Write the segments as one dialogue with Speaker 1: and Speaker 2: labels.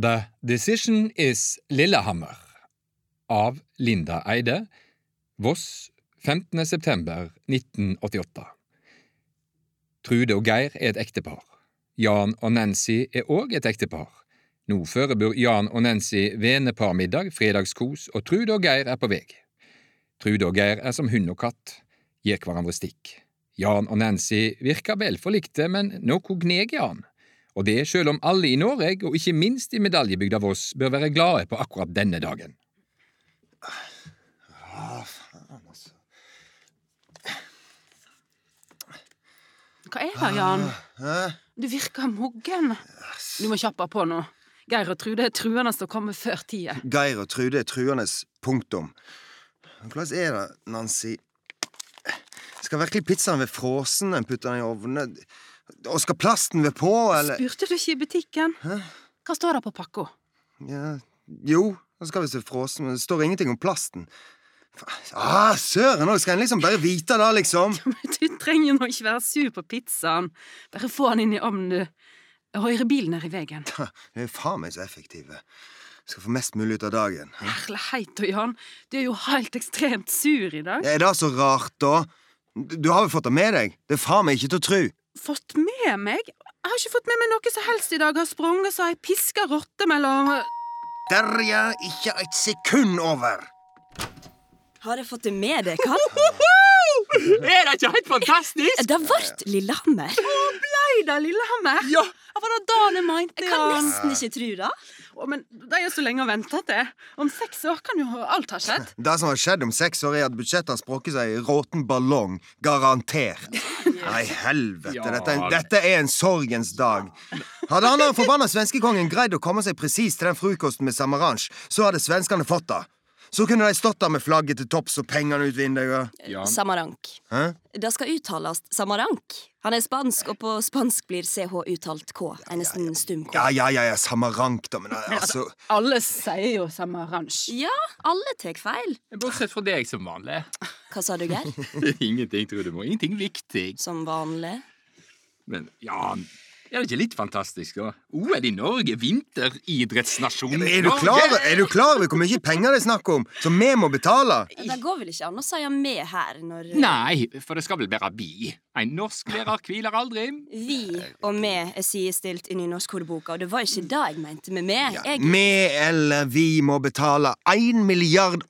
Speaker 1: The Decision Is Lillehammer av Linda Eide, Voss 15. september 1988. Trude og Geir er et ektepar. Jan og Nancy er òg et ektepar. Nå forebør Jan og Nancy veneparmiddag, fredagskos, og Trude og Geir er på vei. Trude og Geir er som hund og katt, gir hverandre stikk. Jan og Nancy virker vel forlikte, men noe gneg i han, og det selv om alle i Norge, og ikke minst i medaljebygda Voss, bør være glade på akkurat denne dagen.
Speaker 2: Ah, faen, altså.
Speaker 3: Hva er det, Jan?
Speaker 2: Ah,
Speaker 4: Ah.
Speaker 2: Hæ?
Speaker 3: Du virker moggen. Du må kjappe på nå. Geir og Trude er truende til å komme før tida.
Speaker 2: Geir og Trude er truende. Punktum. Men Hvordan er det, Nancy? Skal virkelig pizzaen være frossen når en putter den i ovnen? Og skal plasten være på, eller?
Speaker 3: Spurte du ikke i butikken? Hva står det på pakka?
Speaker 2: Ja, jo, den skal visst være frossen, men det står ingenting om plasten. Fa- Ah, søren òg! Skal en liksom bare vite det, liksom?
Speaker 3: Men Du trenger nå ikke være sur på pizzaen. Bare få den inn i ovnen, du. Høyre bilen er i veien.
Speaker 2: De er faen meg så effektive. Skal få mest mulig ut av dagen.
Speaker 3: Herlighet, og Jan, du er jo helt ekstremt sur i dag.
Speaker 2: Er det så rart, da? Du har vel fått det med deg? Det er faen meg ikke til å tru.
Speaker 3: Fått med meg? Jeg har ikke fått med meg noe som helst i dag. Jeg har sprunget så ei piska rotte mellom
Speaker 2: Derja, ikke et sekund over!
Speaker 4: Har jeg fått det med deg, Karl?
Speaker 5: Er det ikke helt fantastisk?
Speaker 4: Det vart Lillehammer.
Speaker 3: Eida Lillehammer!
Speaker 5: Ja,
Speaker 3: Hva var det da jeg mente,
Speaker 4: Jeg kan
Speaker 3: Jan?
Speaker 4: nesten ikke tro det.
Speaker 3: Å, men det er jo så lenge å vente til. Om seks år kan jo alt ha skjedd.
Speaker 2: Det som har skjedd om seks år, er at budsjettet har sprukket seg i råten ballong. Garantert. Nei, helvete.
Speaker 5: Ja.
Speaker 2: Dette, er en- dette er en sorgens dag. Hadde han den forbanna svenskekongen greid å komme seg presis til den frokosten med samaranch, så hadde svenskene fått det. Så kunne de stått der med flagget til topps og pengene ut vinduet.
Speaker 5: Jan.
Speaker 4: Samarank.
Speaker 2: Hæ?
Speaker 4: Det skal uttales Samarank. Han er spansk, og på spansk blir CH uttalt K. En nesten stum K.
Speaker 2: Ja, ja, ja, ja, samarank, da, men altså
Speaker 3: Alle sier jo samme oransje.
Speaker 4: Ja, alle tar feil.
Speaker 5: Bortsett fra deg, som vanlig.
Speaker 4: Hva sa du, Geir?
Speaker 5: Ingenting, tror du må. Ingenting viktig.
Speaker 4: Som vanlig.
Speaker 5: Men Jan, er det ikke litt fantastisk, da? OL i Norge, vinteridrettsnasjon
Speaker 2: er du, klar, er du klar over hvor mye penger det er snakk om, som vi må betale?
Speaker 4: Det går vel ikke an å si med her når
Speaker 5: Nei, for det skal vel være bi. En norsklærer hviler aldri.
Speaker 4: vi og vi er sidestilt i nynorskordboka, og det var ikke det jeg mente med meg. Jeg,
Speaker 2: Vi eller vi må betale 1 milliard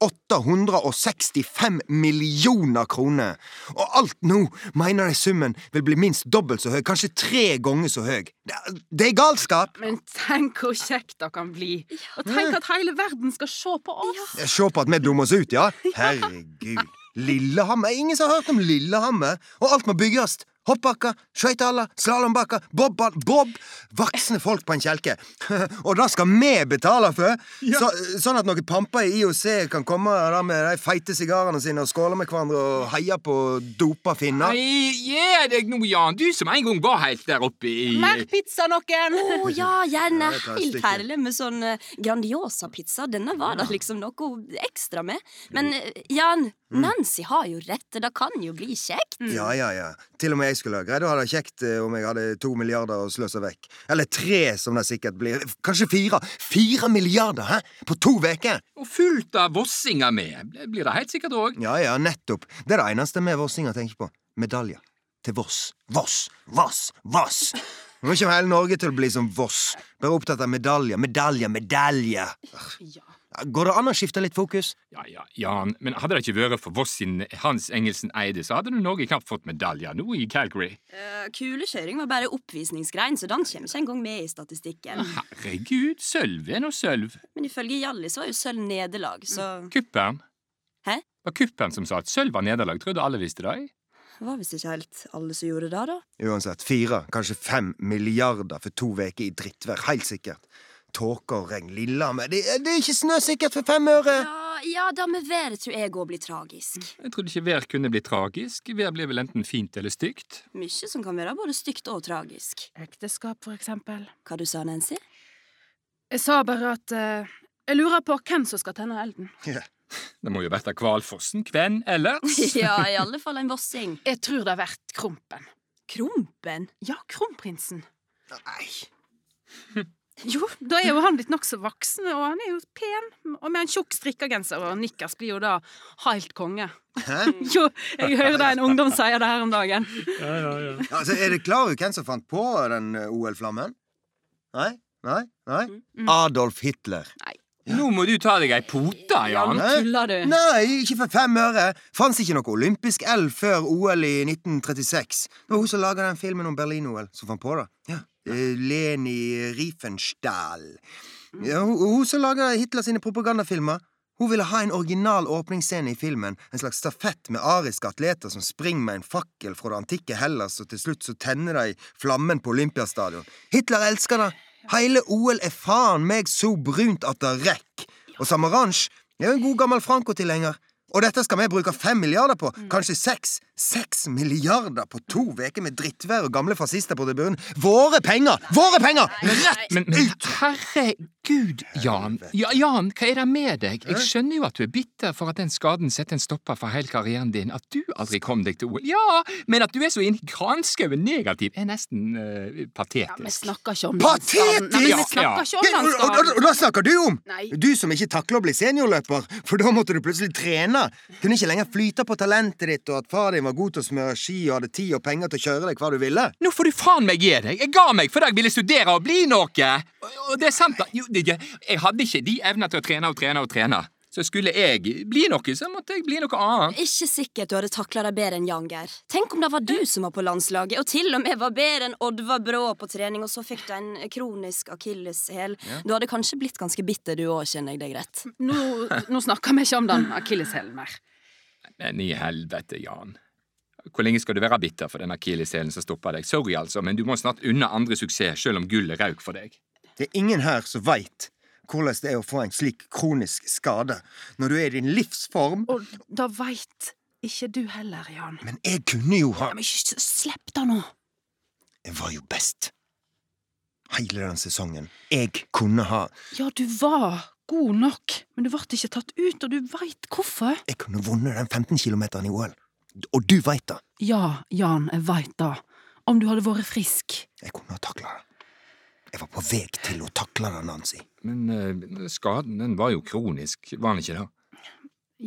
Speaker 2: 865 millioner kroner. Og alt nå mener de summen vil bli minst dobbelt så høy, kanskje tre ganger så høy. Det- Det er galskap!
Speaker 3: Men tenk hvor kjekt det kan bli. Og tenk at hele verden skal se på oss.
Speaker 2: Se på at vi dummer oss ut, ja. Herregud. Lillehammer? Ingen som har hørt om Lillehammer? Og alt må bygges. Hoppbakker, skøytehaller, slalåmbakker, bobball, bob. Voksne folk på en kjelke. og det skal vi betale for! Så, sånn at noen pamper i IOC kan komme der med de feite sigarene sine og skåle med hverandre og heie på dopa finner.
Speaker 5: Nei, gi deg nå, Jan. Du som en gang var helt der oppe i
Speaker 3: Mer pizza,
Speaker 4: å
Speaker 3: noen!
Speaker 4: ja, gjerne
Speaker 2: Ja, jeg tar et
Speaker 4: helt
Speaker 2: stykke.
Speaker 4: herlig med sånn eh, Grandiosa-pizza. Denne var det liksom noe ekstra med. Men eh, Jan,
Speaker 2: Mm.
Speaker 4: Nancy har jo rett. Det kan jo bli kjekt.
Speaker 2: Ja, ja, ja. Til og med jeg skulle ha greid å ha det kjekt eh, om jeg hadde to milliarder å sløse vekk. Eller tre, som det sikkert blir. Kanskje fire. Fire milliarder, hæ? På to uker!
Speaker 5: Og fullt av vossinger med. Det Blir det helt sikkert òg.
Speaker 2: Ja, ja, nettopp. Det er det eneste vi vossinger tenker på. Medaljer. Til Voss. Voss, Voss, Voss! Nå kommer hele Norge til å bli som Voss. Bare opptatt av medaljer, medaljer, medaljer.
Speaker 3: Ja.
Speaker 2: Går det an å skifte litt fokus?
Speaker 5: Ja, ja, Jan, men hadde det ikke vært for Voss sin Hans Engelsen Eide, så hadde nå Norge knapt fått medaljer nå i Calgary.
Speaker 4: Eh, Kulekjøring var bare oppvisningsgrein, så den kommer ikke engang med i statistikken.
Speaker 5: Herregud, sølv er nå sølv.
Speaker 4: Men ifølge Hjallis var jo sølv nederlag, så
Speaker 5: Kuppern.
Speaker 4: Hæ?
Speaker 5: var kuppern som sa at sølv var nederlag. Trodde alle visste det.
Speaker 4: det var visst ikke helt alle som gjorde det, da.
Speaker 2: Uansett, fire, kanskje fem milliarder for to uker i drittvær, helt sikkert. Tåke og regn, Lillehammer det, det er ikke snøsikkert for fem øre!
Speaker 4: Ja, ja da med været tror jeg òg blir tragisk.
Speaker 5: Jeg trodde ikke vær kunne bli tragisk. Vær blir vel enten fint eller stygt.
Speaker 4: Mye som kan være både stygt og tragisk.
Speaker 3: Ekteskap, for eksempel.
Speaker 4: Hva du sa Nancy?
Speaker 3: Jeg sa bare at eh, jeg lurer på hvem som skal tenne elden.
Speaker 5: Det må jo vært av Kvalfossen, hvem ellers?
Speaker 4: ja, i alle fall en vossing.
Speaker 3: Jeg tror det har vært Krompen.
Speaker 4: Krompen?
Speaker 3: Ja, kronprinsen.
Speaker 2: Nei.
Speaker 3: Jo, da er jo han blitt nokså voksen, og han er jo pen. Og med en tjukk strikkegenser og nikkers blir jo da helt konge.
Speaker 2: Hæ?
Speaker 3: Jo, jeg hører det en ungdom sier det her om dagen.
Speaker 6: Ja, ja, ja.
Speaker 2: Altså, er det klar over hvem som fant på den eh, OL-flammen? Nei? Nei? Nei? Adolf Hitler.
Speaker 5: Nå må du ta deg ei pote, Jan.
Speaker 3: nå tuller du.
Speaker 2: Nei, ikke for fem øre! Fantes ikke noe olympisk elv før OL i 1936. Det var hun som laga den filmen om Berlin-OL, som fant på det. Ja. Eh, Leni Riefenstahl. Ja, hun, hun som laga Hitler sine propagandafilmer. Hun ville ha en original åpningsscene i filmen, en slags stafett med ariske atleter som springer med en fakkel fra det antikke Hellas, og til slutt så tenner de flammen på Olympiastadion. Hitler elsker det! Hele OL er faen meg så brunt at det rekk! Og Samaranch er jo en god gammel Franco-tilhenger. Og dette skal vi bruke fem milliarder på, kanskje seks. Seks milliarder på to uker med drittvær og gamle fascister på tribunen. Våre penger! Våre penger! Rett
Speaker 5: Men, men herregud, Jan. Ja, Jan, hva er det med deg? Jeg skjønner jo at du er bitter for at den skaden setter en stopper for hele karrieren din, at du aldri kom deg til OL. Ja, men at du er så inn i granskauen negativ, er nesten eh,
Speaker 3: Ja, vi
Speaker 5: patetisk.
Speaker 3: snakker ikke om
Speaker 2: Patetisk!
Speaker 3: landskaden. Nei, men vi
Speaker 5: Ja, ja.
Speaker 3: snakker ikke om
Speaker 2: Ja, og, og, og,
Speaker 3: landskaden.
Speaker 2: da snakker du om!
Speaker 3: Nei.
Speaker 2: Du som ikke takler å bli seniorløper, for da måtte du plutselig trene. Kunne ikke lenger flyte på talentet ditt og at far din var god til å smøre ski og hadde tid og penger til å kjøre deg hva du ville.
Speaker 5: Nå får du faen meg gi deg! Jeg ga meg fordi jeg ville studere og bli noe! Og, og det er sant, da. Jo, det, jeg hadde ikke de evner til å trene og trene og trene. Så skulle jeg bli noe, så måtte jeg bli noe annet.
Speaker 4: Ikke sikkert du hadde takla deg bedre enn Jan Geir. Tenk om det var du som var på landslaget, og til og med var bedre enn Oddvar Brå på trening, og så fikk du en kronisk akilleshæl. Du hadde kanskje blitt ganske bitter du òg, kjenner jeg deg rett.
Speaker 3: Nå, nå snakker vi ikke om den akilleshælen mer.
Speaker 5: Men Eh, i helvete, Jan. Hvor lenge skal du være bitter for den akilleshælen som stopper deg? Sorry, altså, men du må snart unne andre suksess, selv om gullet røk for deg.
Speaker 2: Det er ingen her som veit hvordan det er å få en slik kronisk skade når du er i din livsform.
Speaker 3: Og da veit ikke du heller, Jan.
Speaker 2: Men jeg kunne jo ha
Speaker 3: Men ikke slipp det nå.
Speaker 2: Jeg var jo best. Hele den sesongen. Jeg kunne ha
Speaker 3: Ja, du var god nok, men du ble ikke tatt ut, og du veit hvorfor.
Speaker 2: Jeg kunne vunnet den 15 kilometeren i OL. Og du veit det.
Speaker 3: Ja, Jan, jeg veit det. Om du hadde vært frisk.
Speaker 2: Jeg kunne ha takla det. Jeg var på vei til å takle det, Nancy.
Speaker 5: Men eh, skaden, den var jo kronisk, var den ikke det?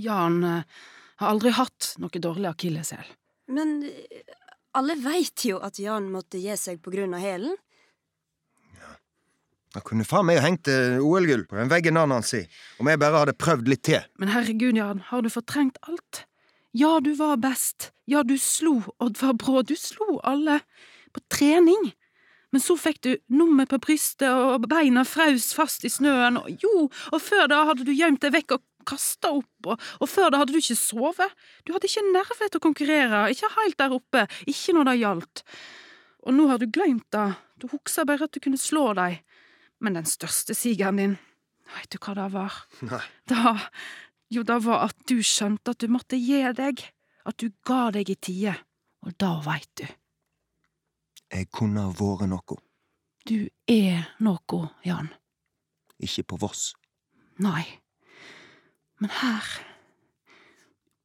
Speaker 3: Jan eh, har aldri hatt noe dårlig akilleshæl.
Speaker 4: Men eh, alle veit jo at Jan måtte gi seg på grunn av hælen.
Speaker 2: Jeg kunne faen meg ha hengt eh, OL-gull på den veggen der, Nancy. Om jeg bare hadde prøvd litt til.
Speaker 3: Men herregud, Jan, har du fortrengt alt? Ja, du var best. Ja, du slo Oddvar Brå. Du slo alle på trening. Men så fikk du nummer på brystet, og beina fraus fast i snøen, og jo, og før da hadde du gjemt deg vekk og kasta opp, og, og før da hadde du ikke sovet. Du hadde ikke nerve til å konkurrere, ikke helt der oppe, ikke når det gjaldt. Og nå har du glemt det, du husker bare at du kunne slå dem. Men den største sigeren din, veit du hva det var?
Speaker 2: Nei.
Speaker 3: Da Jo, det var at du skjønte at du måtte gi deg. At du ga deg i tide. Og da veit du.
Speaker 2: Jeg kunne ha vært noe.
Speaker 3: Du er noe, Jan.
Speaker 2: Ikke på Voss.
Speaker 3: Nei. Men her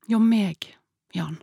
Speaker 3: Hjå meg, Jan.